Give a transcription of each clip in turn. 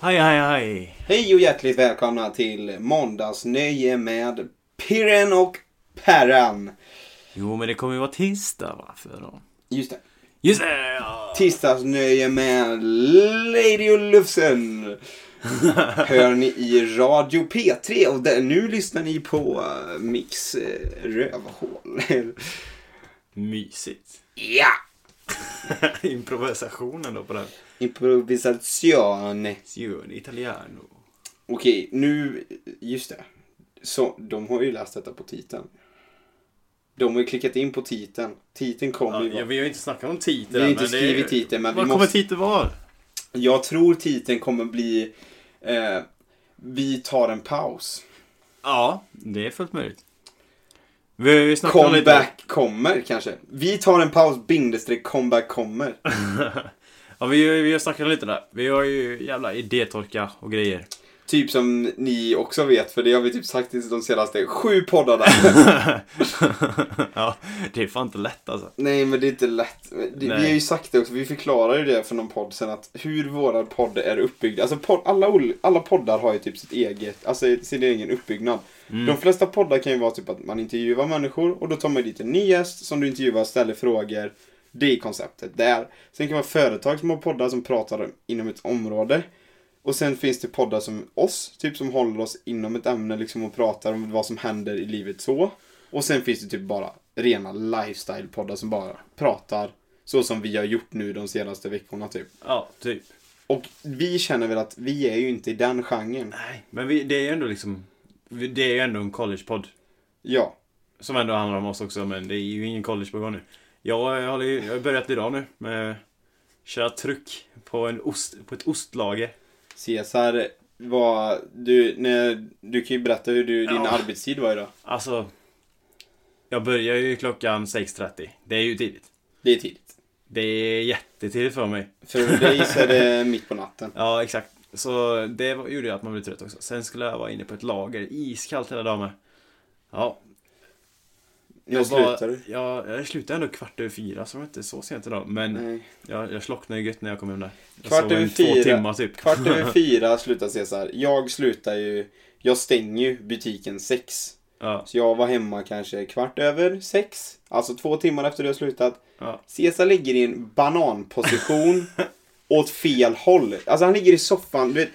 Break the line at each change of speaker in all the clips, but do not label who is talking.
Hej, hej, hej.
Hej och hjärtligt välkomna till måndagsnöje med Pirren och Perran.
Jo, men det kommer ju vara tisdag va? För då.
Just det.
Just det! ja.
Tisdagsnöje med Lady och Lufsen. Hör ni i Radio P3 och där, nu lyssnar ni på eh, Mix eh, Rövhål.
Mysigt.
ja!
Improvisationen då på den.
Improvisation.
Sion italiano.
Okej, nu... Just det. Så, de har ju läst detta på titeln. De har ju klickat in på titeln. Titeln
Ja,
kommer ju...
ja,
vara-
vi har ju inte snackat om titeln
Vi har
än,
inte
men det är
skrivit
ju-
titeln, men vi
Vad kommer
måste-
titeln vara?
Jag tror titeln kommer bli... Eh, vi tar en paus.
Ja, det är fullt möjligt. Vi har ju snackat om lite...
Comeback kommer kanske. Vi tar en paus, bindestreck, comeback kommer.
Ja, vi, har- vi har snackat om lite där. Vi har ju jävla idétorka och grejer.
typ som ni också vet, för det har vi typ sagt i de senaste sju poddarna.
ja, det är fan inte lätt alltså.
Nej, men det är inte lätt. Det- Vi
Nej.
har ju sagt det också, vi förklarar ju det för någon podd sen att hur våra podd är uppbyggda. Alltså podd, alla, ol- alla poddar har ju typ sitt eget, alltså sin egen uppbyggnad. De flesta poddar kan ju vara typ att man intervjuar människor och då tar man dit en ny gäst som du intervjuar, ställer frågor. Det är konceptet där. Sen kan det vara företag som har poddar som pratar om- inom ett område. Och sen finns det poddar som oss, typ som håller oss inom ett ämne liksom och pratar om vad som händer i livet så. Och sen finns det typ bara rena lifestyle-poddar som bara pratar så som vi har gjort nu de senaste veckorna typ.
Ja, typ.
Och vi känner väl att vi är ju inte i den genren.
Nej, men vi, det är ju ändå liksom... vi- Det är ju ändå en collegepodd.
Ja,
Som ändå handlar om oss också, men det är ju ingen college på gång nu. Jag eh, håller ju, jag har börjat idag nu med köra truck på, en ost, på ett ostlager.
Cesar var... Du, när, du kan ju berätta hur du, din
Ja.
arbetstid var idag.
Alltså, jag börjar ju klockan 6.30. Det är ju tidigt.
Det är tidigt.
Det är jättetidigt för mig.
För dig så är det mitt på natten.
Ja, exakt. Så det var- gjorde ju att man blev trött också. Sen skulle jag vara inne på ett lager, iskallt hela dagen med. Ja, var-
När slutar du?
Ja, jag slutade ändå kvart över fyra, så det var inte så sent idag. Men
Nej.
jag, jag slocknade ju gött när jag kom hem där. Jag
Kvart
sov
över
en
fyra.
Alltså, två timmar typ.
Kvart över fyra slutar Cesar. Jag slutar ju... Jag stänger ju butiken sex.
Ja,
Så jag var hemma kanske kvart över sex. Alltså två timmar efter du har slutat.
ja.
Cesar ligger i en bananposition åt fel håll. Alltså han ligger i soffan. Du vet,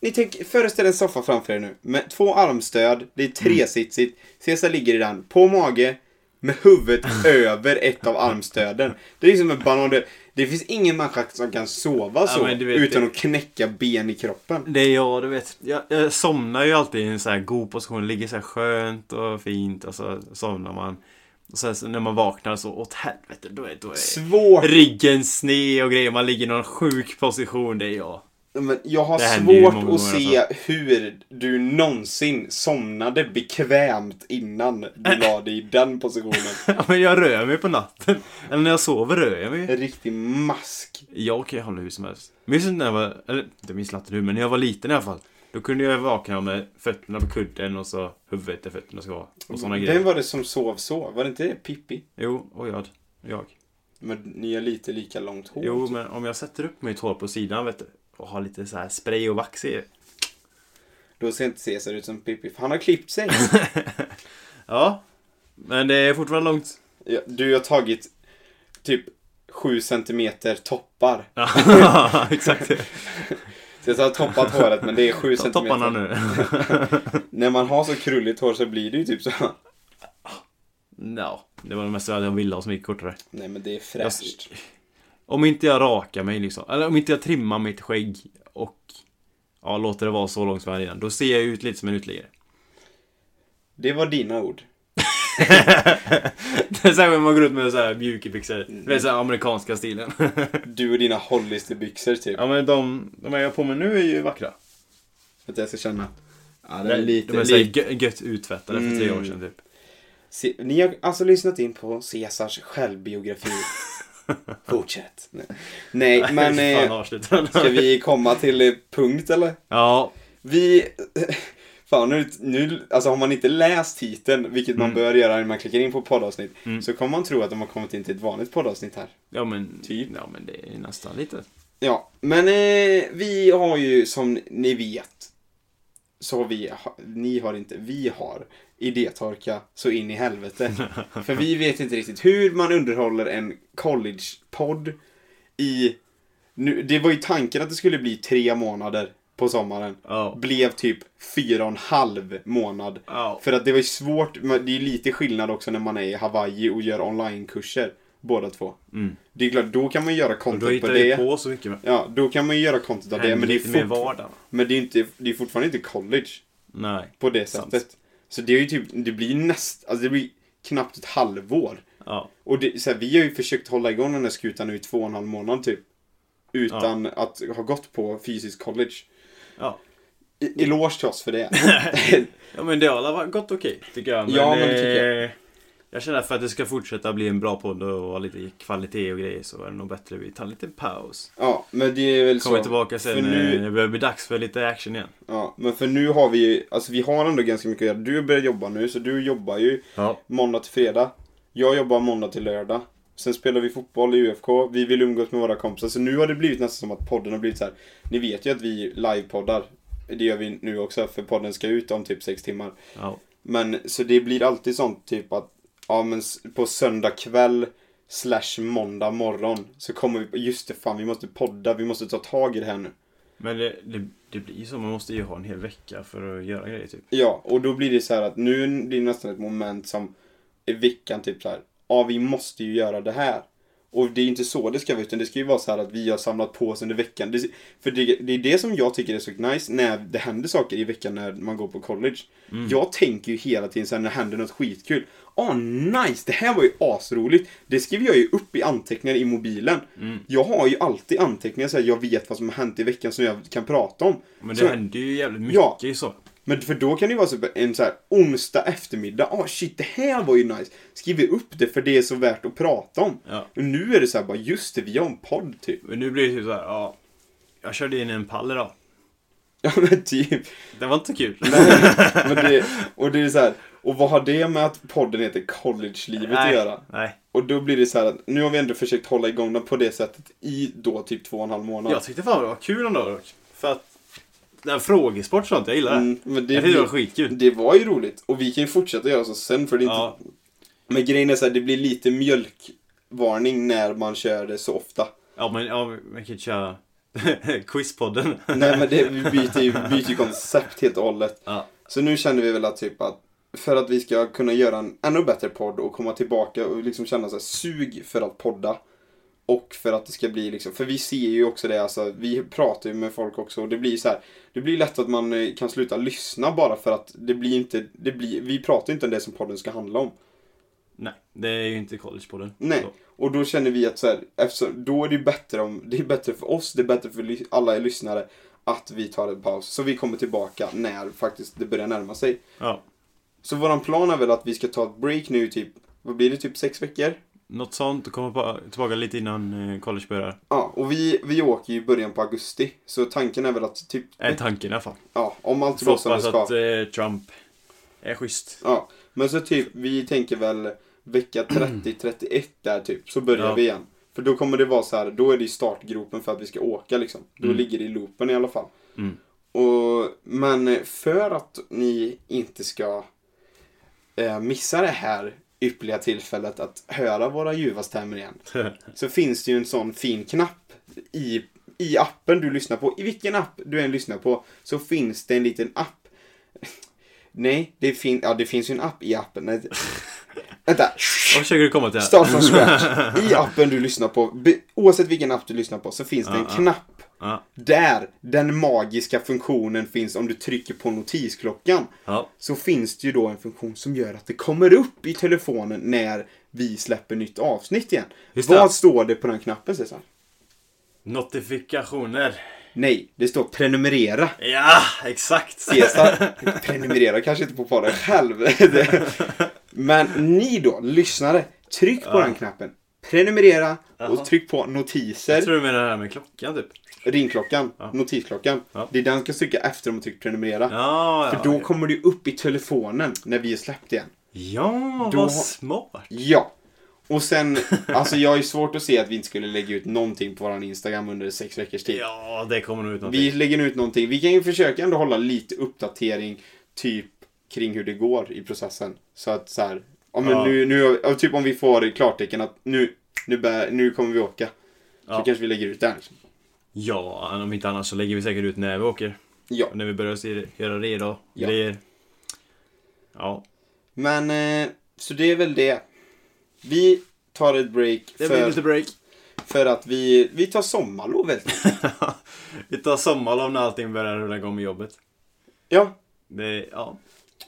ni tänk, föreställ en soffa framför er nu med två armstöd. Det är
Mm.
tresitsigt. Cesar ligger i den på mage med huvudet över ett av armstöden. Det är liksom en banan. Det- Det finns ingen människa som kan sova så
men du vet
utan
det.
att knäcka ben i kroppen.
Det är jag, du vet. Jag, jag somnar ju alltid i en så här god position. Ligger så här skönt och fint och så somnar man. Och sen så när man vaknar så, åt helvete, då är, då är
Svårt.
ryggen sned och grejer. Man ligger i någon sjuk position, det är jag.
Men jag har
Det händer ju
svårt
många
att
gånger, alltså.
se hur du någonsin somnade bekvämt innan du la dig i den positionen.
Ja, Men jag rör mig på natten. Eller när jag sover rör jag mig.
En riktig mask.
Jag kan ju hamna hur som helst. Minns du när jag var, eller inte minns inte nu, men när jag var liten i alla fall. Då kunde jag vakna med fötterna på kudden och så huvudet där fötterna ska vara. Och sådana
Vem
grejer.
var det som sov så? Var det inte det? Pippi?
Jo, och jag. Jag.
Men ni har lite lika långt hår.
Jo,
typ.
men om jag sätter upp mitt hår på sidan vet du. Och har lite så här spray och vax i.
Då ser inte Cesar ut som Pippi, för han har klippt sig.
Ja. Men det är fortfarande långt.
Ja, du har tagit typ 7 centimeter toppar.
Ja, exakt.
Cesar har toppat håret, men det är 7
Ta topparna
centimeter.
nu.
När man har så krulligt hår så blir det ju typ så.
Ja, det var det mesta jag ville ha som gick kortare.
Nej, men det är fräscht.
Om inte jag rakar mig liksom, eller om inte jag trimmar mitt skägg och ja, låter det vara så långt som jag är redan, då ser jag ut lite som en uteliggare.
Det var dina ord.
det är särskilt när man går ut med så här mjukisbyxor. Det är så här amerikanska stilen.
Du och dina Hollisterbyxor typ.
ja men de, de jag har på mig nu är ju vackra.
Att jag ska känna. Ja, den
De
är
är,
lite,
de är så här gö- gött uttvättade för tre år sedan typ.
Se, ni har alltså lyssnat in på Caesars självbiografi. Fortsätt. Nej, Nej men
Fan,
eh,
avsluta den.
ska vi komma till eh, punkt eller?
Ja,
Vi... Fan, nu, nu, alltså har man inte läst titeln, vilket man bör göra när man klickar in på poddavsnitt, så kommer man tro att de har kommit in till ett vanligt poddavsnitt här.
ja men,
Typ.
ja, men det är nästan lite.
Ja, men eh, vi har ju som ni vet. Så har vi, ha- ni har inte, vi har idétorka så in i helvete. För vi vet inte riktigt hur man underhåller en college-podd i... Nu, det var ju tanken att det skulle bli tre månader på sommaren.
Ja.
Blev typ fyra och en halv månad.
Ja.
För att det var ju svårt, men det är ju lite skillnad också när man är i Hawaii och gör onlinekurser. Båda två.
Mm.
Det är klart, då kan man göra
Och då
content på
hittar
det.
vi på så mycket. va?
Ja, då kan man ju göra content av det. Men det är,
lite mer
fort...
vardag. va?
men det är, inte, det är fortfarande inte college
Nej.
på det
Sant.
sättet. Så det är ju typ, det blir näst, alltså det blir knappt ett halvår.
Ja.
Och det, så här, vi har ju försökt hålla igång den här skutan nu i två och en halv månad typ. Utan att ha gått på fysisk college.
Ja. Mm.
I- Eloge till oss för det.
ja, men det har alla varit- gått okej, tycker jag.
Ja, men det tycker
jag. Jag känner att för att det ska fortsätta bli en bra podd och ha lite kvalitet och grejer så är det nog bättre vi tar lite paus.
ja, men det är väl
Kommer
så.
tillbaka sen eh,
För
när
nu-
det börjar bli dags för lite action igen.
Ja, men för nu har vi ju, alltså vi har ändå ganska mycket att göra. Du börjar jobba nu, så du jobbar ju
Ja.
måndag till fredag. Jag jobbar måndag till lördag. Sen spelar vi fotboll i UFK. Vi vill umgås med våra kompisar. Så nu har det blivit nästan som att podden har blivit så här. Ni vet ju att vi livepoddar. Det gör vi nu också, för podden ska ut om typ sex timmar.
ja.
Men så det blir alltid sånt typ att ja men s- på söndag kväll slash måndag morgon så kommer vi på just det fan vi måste podda, vi måste ta tag i det här nu.
Men det, det, det blir ju så. Man måste ju ha en hel vecka för att göra grejer typ.
Ja, och då blir det så här att nu blir det nästan ett moment som i veckan typ så här. Ja, vi måste ju göra det här. Och det är ju inte så det ska vara, utan det ska ju vara så här att vi har samlat på oss under veckan. Det, för det, det är det som jag tycker är så nice när det händer saker i veckan när man går på college.
Mm.
Jag tänker ju hela tiden så här när det händer något skitkul. Åh, nice! Det här var ju asroligt. Det skriver jag ju upp i anteckningar i mobilen.
Mm.
Jag har ju alltid anteckningar så här, jag vet vad som har hänt i veckan som jag kan prata om.
Men
Så-
det händer ju jävligt mycket
Ja.
så.
men för då kan det ju vara så en så här onsdag eftermiddag. Ah shit, det här var ju nice. Skriver upp det för det är så värt att prata om.
Ja.
Och nu är det så här bara, just det, vi har en podd typ.
Men nu blir det typ så här, ja. Jag körde in en pall idag.
Ja men typ.
Det var inte kul.
Men det, och det är så här, och vad har det med att podden heter College-livet att
Nej,
göra?
Nej.
Och då blir det så här att nu har vi ändå försökt hålla igång den på det sättet i då typ två och en halv månad.
Jag tyckte fan det var kul ändå dock. För att den här frågesport och sånt, jag gillar det.
Mm, men det,
jag tyckte det var
blir,
skitkul.
det var ju roligt. Och vi kan ju fortsätta göra så sen för det är inte
Ja,
Men grejen är så här, det blir lite mjölkvarning när man kör det så ofta.
ja men ja, man kan ju köra quizpodden.
Nej men det, vi byter ju, byter ju koncept helt och hållet.
Ja.
Så nu känner vi väl att typ att för att vi ska kunna göra en ännu bättre podd och komma tillbaka och liksom känna så här sug för att podda. Och för att det ska bli liksom, för vi ser ju också det alltså, vi pratar ju med folk också och det blir så här, det blir lätt att man eh, kan sluta lyssna bara för att det blir inte, det blir, vi pratar inte om det som podden ska handla om.
Nej, det är ju inte collegepodden.
Nej,
Så.
och då känner vi att så här, eftersom, då är det ju bättre om, det är bättre för oss, det är bättre för ly- alla er lyssnare att vi tar en paus. Så vi kommer tillbaka när faktiskt det börjar närma sig.
Ja,
Så våran plan är väl att vi ska ta ett break nu i typ, vad blir det, typ sex veckor?
något sånt och komma på- tillbaka lite innan eh, college börjar.
Ja, och vi, vi åker ju i början på augusti. Så tanken är väl att typ,
Är tanken i alla fall.
ja, om allt
Får
går som det
hoppas
ska.
att eh, Trump är schysst.
Ja, men så typ, vi tänker väl vecka 30-31 där typ, så börjar
Ja.
vi igen. För då kommer det vara så här, då är det i startgropen för att vi ska åka liksom. Då
Mm.
ligger det i loopen i alla fall.
Mm.
Och, men för att ni inte ska eh, missa det här ypperliga tillfället att höra våra ljuva stämmor igen. Så finns det ju en sån fin knapp i, i appen du lyssnar på. I vilken app du än lyssnar på så finns det en liten app. Nej, det, fin- ja, det finns ju en app i appen. Nej. Vänta.
Vad försöker du komma till? här?
Start från scratch. I appen du lyssnar på, be- oavsett vilken app du lyssnar på, så finns det en
Ja, ja.
knapp.
Ja.
Där den magiska funktionen finns om du trycker på notisklockan.
ja.
Så finns det ju då en funktion som gör att det kommer upp i telefonen när vi släpper nytt avsnitt igen.
Just det.
Vad står det på den knappen Cesar?
Notifikationer.
Nej, det står prenumerera.
Ja, exakt!
Cesar prenumererar kanske inte på podden själv. Det- Men ni då, lyssnare, tryck på den knappen. Prenumerera
Jaha.
och tryck på notiser.
Jag tror du menar det här med klockan typ.
Ringklockan, notisklockan.
Ja.
Det är den du ska trycka efter om du tryckt prenumerera.
Ja, ja.
För då
ja.
kommer det ju upp i telefonen när vi har släppt igen.
Ja,
Då-
vad smart!
Ja. Och sen, alltså jag har ju svårt att se att vi inte skulle lägga ut någonting på våran Instagram under sex veckors tid.
Ja, det kommer nog ut någonting.
Vi lägger nu ut någonting. Vi kan ju försöka ändå hålla lite uppdatering, typ kring hur det går i processen. Så att så här, ja men
Ja.
nu, nu, ja, typ om vi får klartecken att nu, nu, bär, nu kommer vi åka. Så
Ja.
kanske vi lägger ut den. Liksom.
Ja, om inte annars så lägger vi säkert ut när vi åker.
Ja.
När vi börjar se- göra redo
Ja.
grejer. Ja,
Men, eh, så det är väl det. Vi tar ett break
det blir
för,
lite break.
för att vi, vi tar sommarlov helt enkelt.
vi tar sommarlov när allting börjar rulla igång med jobbet.
Ja.
Det, ja.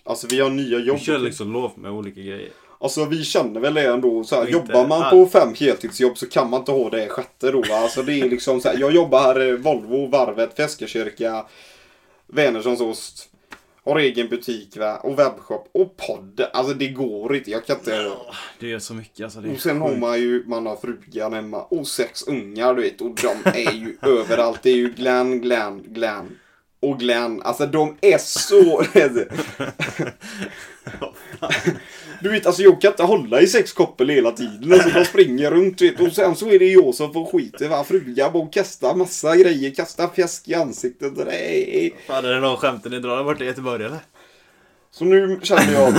Alltså vi har nya jobb.
Vi kör liksom lov med olika grejer.
Alltså vi känner väl det ändå. Så här,
Och inte
jobbar man på fem heltidsjobb så kan man inte ha det sjätte då. va? Alltså det är liksom så här, jag jobbar eh, Volvo, Varvet, Feskekyrka, Vänersons ost. Har egen butik va? och webbshop och podd. Alltså det går inte. Jag kan inte.
Ja, Det gör så mycket alltså. Det är
Och sen har
sjukt.
man ju, man har frugan hemma och sex ungar du vet. Och de är ju överallt. Det är ju Glenn, Glenn, Glenn. Och Glenn, alltså de är så... Du vet, alltså jag kan inte hålla i sex koppel hela tiden. Alltså, de springer runt vet, och sen så är det jag som får skiten. Va? Frugan bara kastar massa grejer, kastar fjäsk i ansiktet. Nej.
Fan, är det någon skämt ni drar bort i Göteborg eller?
Så nu känner jag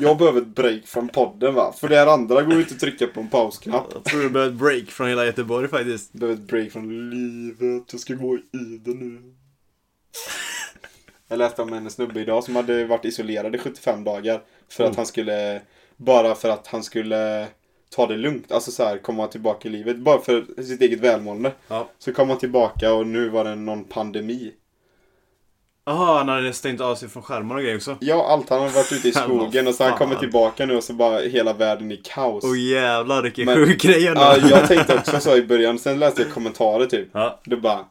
jag behöver ett break från podden va. För det här andra går ju inte att trycka på en pausknapp.
Jag tror du behöver ett break från hela Göteborg faktiskt.
Jag behöver ett break från livet. Jag ska gå i det nu. Jag läste om en snubbe idag som hade varit isolerad i 75 dagar. För
Mm.
att han skulle... Bara för att han skulle ta det lugnt. Alltså så här, komma tillbaka i livet. Bara för sitt eget välmående.
Ja.
Så kom han tillbaka och nu var det någon pandemi.
Jaha, han hade stängt av sig från skärmar och grejer också.
Ja, allt. Han har varit ute i
Men vad
skogen och så han
fan.
kommer tillbaka nu och så bara hela världen i kaos.
Åh jävlar vilken
Men-
sjuk grej ändå.
Ja, jag tänkte också så i början. Sen läste jag kommentarer typ.
Ja,
Då bara...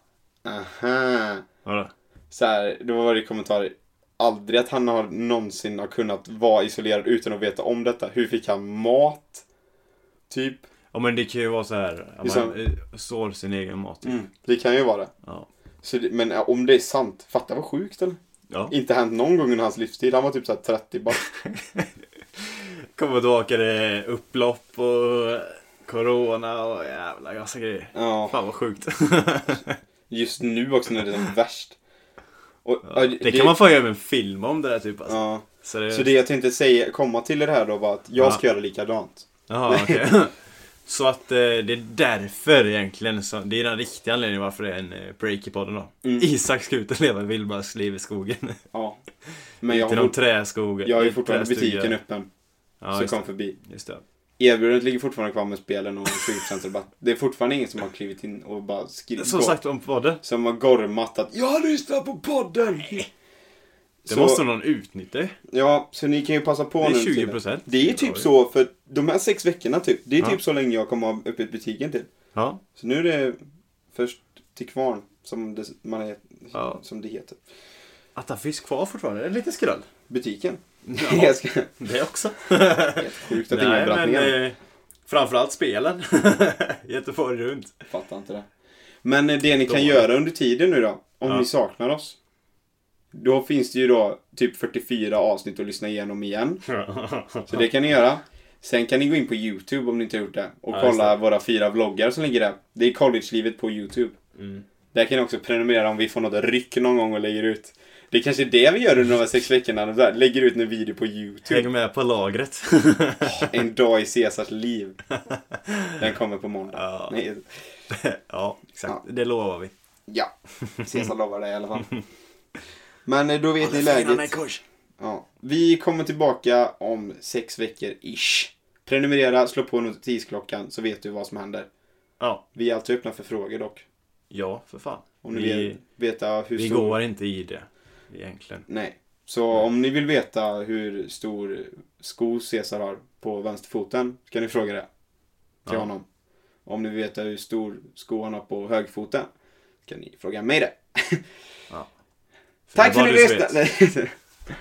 Aha.
vadå?
så här, då var det kommentarer. Aldrig att han har någonsin har kunnat vara isolerad utan att veta om detta. Hur fick han mat? Typ.
Ja men det kan ju vara så här. att Man
Liksom- Mm.
eh, sår sin egen mat. Typ.
Det kan ju vara det.
Ja.
Så det. Men ja, om det är sant, fatta vad sjukt eller?
ja.
Inte hänt någon gång under hans livstid. Han var typ såhär 30 bara.
Kommer tillbaka det upplopp och corona och jävla massa grejer.
Ja.
Fan vad sjukt.
Just nu också när det är som värst. Och, ja,
Det kan man fan göra en film om det där typ alltså.
Ja.
Så det...
Så det jag tänkte säga, komma till det här då var att jag
Ja.
ska göra likadant.
Jaha, okej. Så att eh, det är därför egentligen, som, det är den riktiga anledningen varför det är en eh, break i podden då.
Mm.
Isak ska ut och leva Wilbars liv i skogen.
Ja. Men jag
Till
har,
någon
fort-
träskog.
jag har ju
i
fortfarande
trästuga.
butiken öppen.
Ja,
så
just,
kom
det.
förbi.
just det.
Erbjudandet ligger fortfarande kvar med spelen och 20% rabatt. Det är fortfarande ingen som har klivit in och bara skrivit
Som sagt om podden.
Som har gormat att jag lyssnar på podden!
Det
Så-
måste någon utnyttja ju.
Ja, så ni kan ju passa på
Det är
nu.
20
tiden.
procent.
Det är typ så för de här sex veckorna typ. Det är
Ja.
typ så länge jag kommer ha öppet butiken till.
Ja.
Så nu är det först till kvarn som det, man är,
Ja.
som det heter.
Att han finns kvar fortfarande, en liten skrull.
Butiken.
Ja,
Jag ska,
det också.
helt sjukt att ingen har
Nej,
dragit
men
ner.
eh, framförallt spelen. Göteborg runt.
Fattar inte det. Men eh, det ni kan
Då-
göra under tiden nu då, om
Ja.
ni saknar oss. Då finns det ju då typ 44 avsnitt att lyssna igenom igen. Så det kan ni göra. Sen kan ni gå in på YouTube om ni inte har gjort det. Och
Ja, just
kolla våra fyra vloggar som ligger där. Det är collegelivet på YouTube.
Mm.
Där kan ni också prenumerera om vi får något ryck någon gång och lägger ut. Det är kanske är det vi gör under de här sex veckorna. de där, Lägger ut en video på YouTube.
Häng med på lagret.
En dag i Caesars liv. Den kommer på måndag.
Ja.
Nej,
ja, exakt. Det lovar vi.
Ja, Cesar lovar det i alla fall. Men eh, då vet ni läget. Ja. Vi kommer tillbaka om sex veckor ish. Prenumerera, slå på notisklockan så vet du vad som händer.
Ja,
Vi är alltid öppna för frågor dock.
ja, för fan.
Om ni
vi
vill veta hur
vi
stor...
går inte i det egentligen.
Nej. Så om ni vill veta hur stor sko Cesar har på vänsterfoten kan ni fråga det till
Ja.
honom. Om ni vill veta hur stor sko han har på högerfoten kan ni fråga mig det.
För
Tack för
vad
att ni
du så vet.
lyssnade! Nej.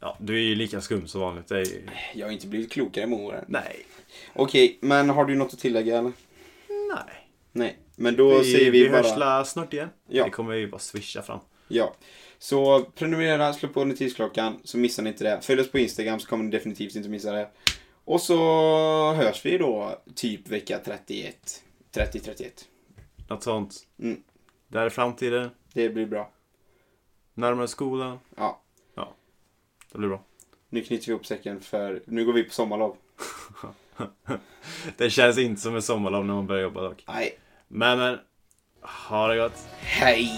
Ja, du är ju lika skum som vanligt. Det är ju...
Jag har inte blivit klokare med åren.
Nej.
Okej, men har du något att tillägga eller?
Nej.
Nej, men då säger vi,
vi
bara...
hörs la snart igen.
Ja.
Det kommer ju bara swisha fram.
Ja. Så prenumerera, slå på notisklockan så missar ni inte det. Följ oss på Instagram så kommer ni definitivt inte missa det. Och så hörs vi då typ vecka 31. 30-31.
Något sånt.
Mm.
Där är framtiden.
Det blir bra.
Närmare skolan.
Ja.
Det blir bra.
Nu knyter vi ihop säcken för nu går vi på sommarlov.
Det känns inte som en sommarlov när man börjar jobba dock.
Nej.
Men, men. Ha det gott.
Hej!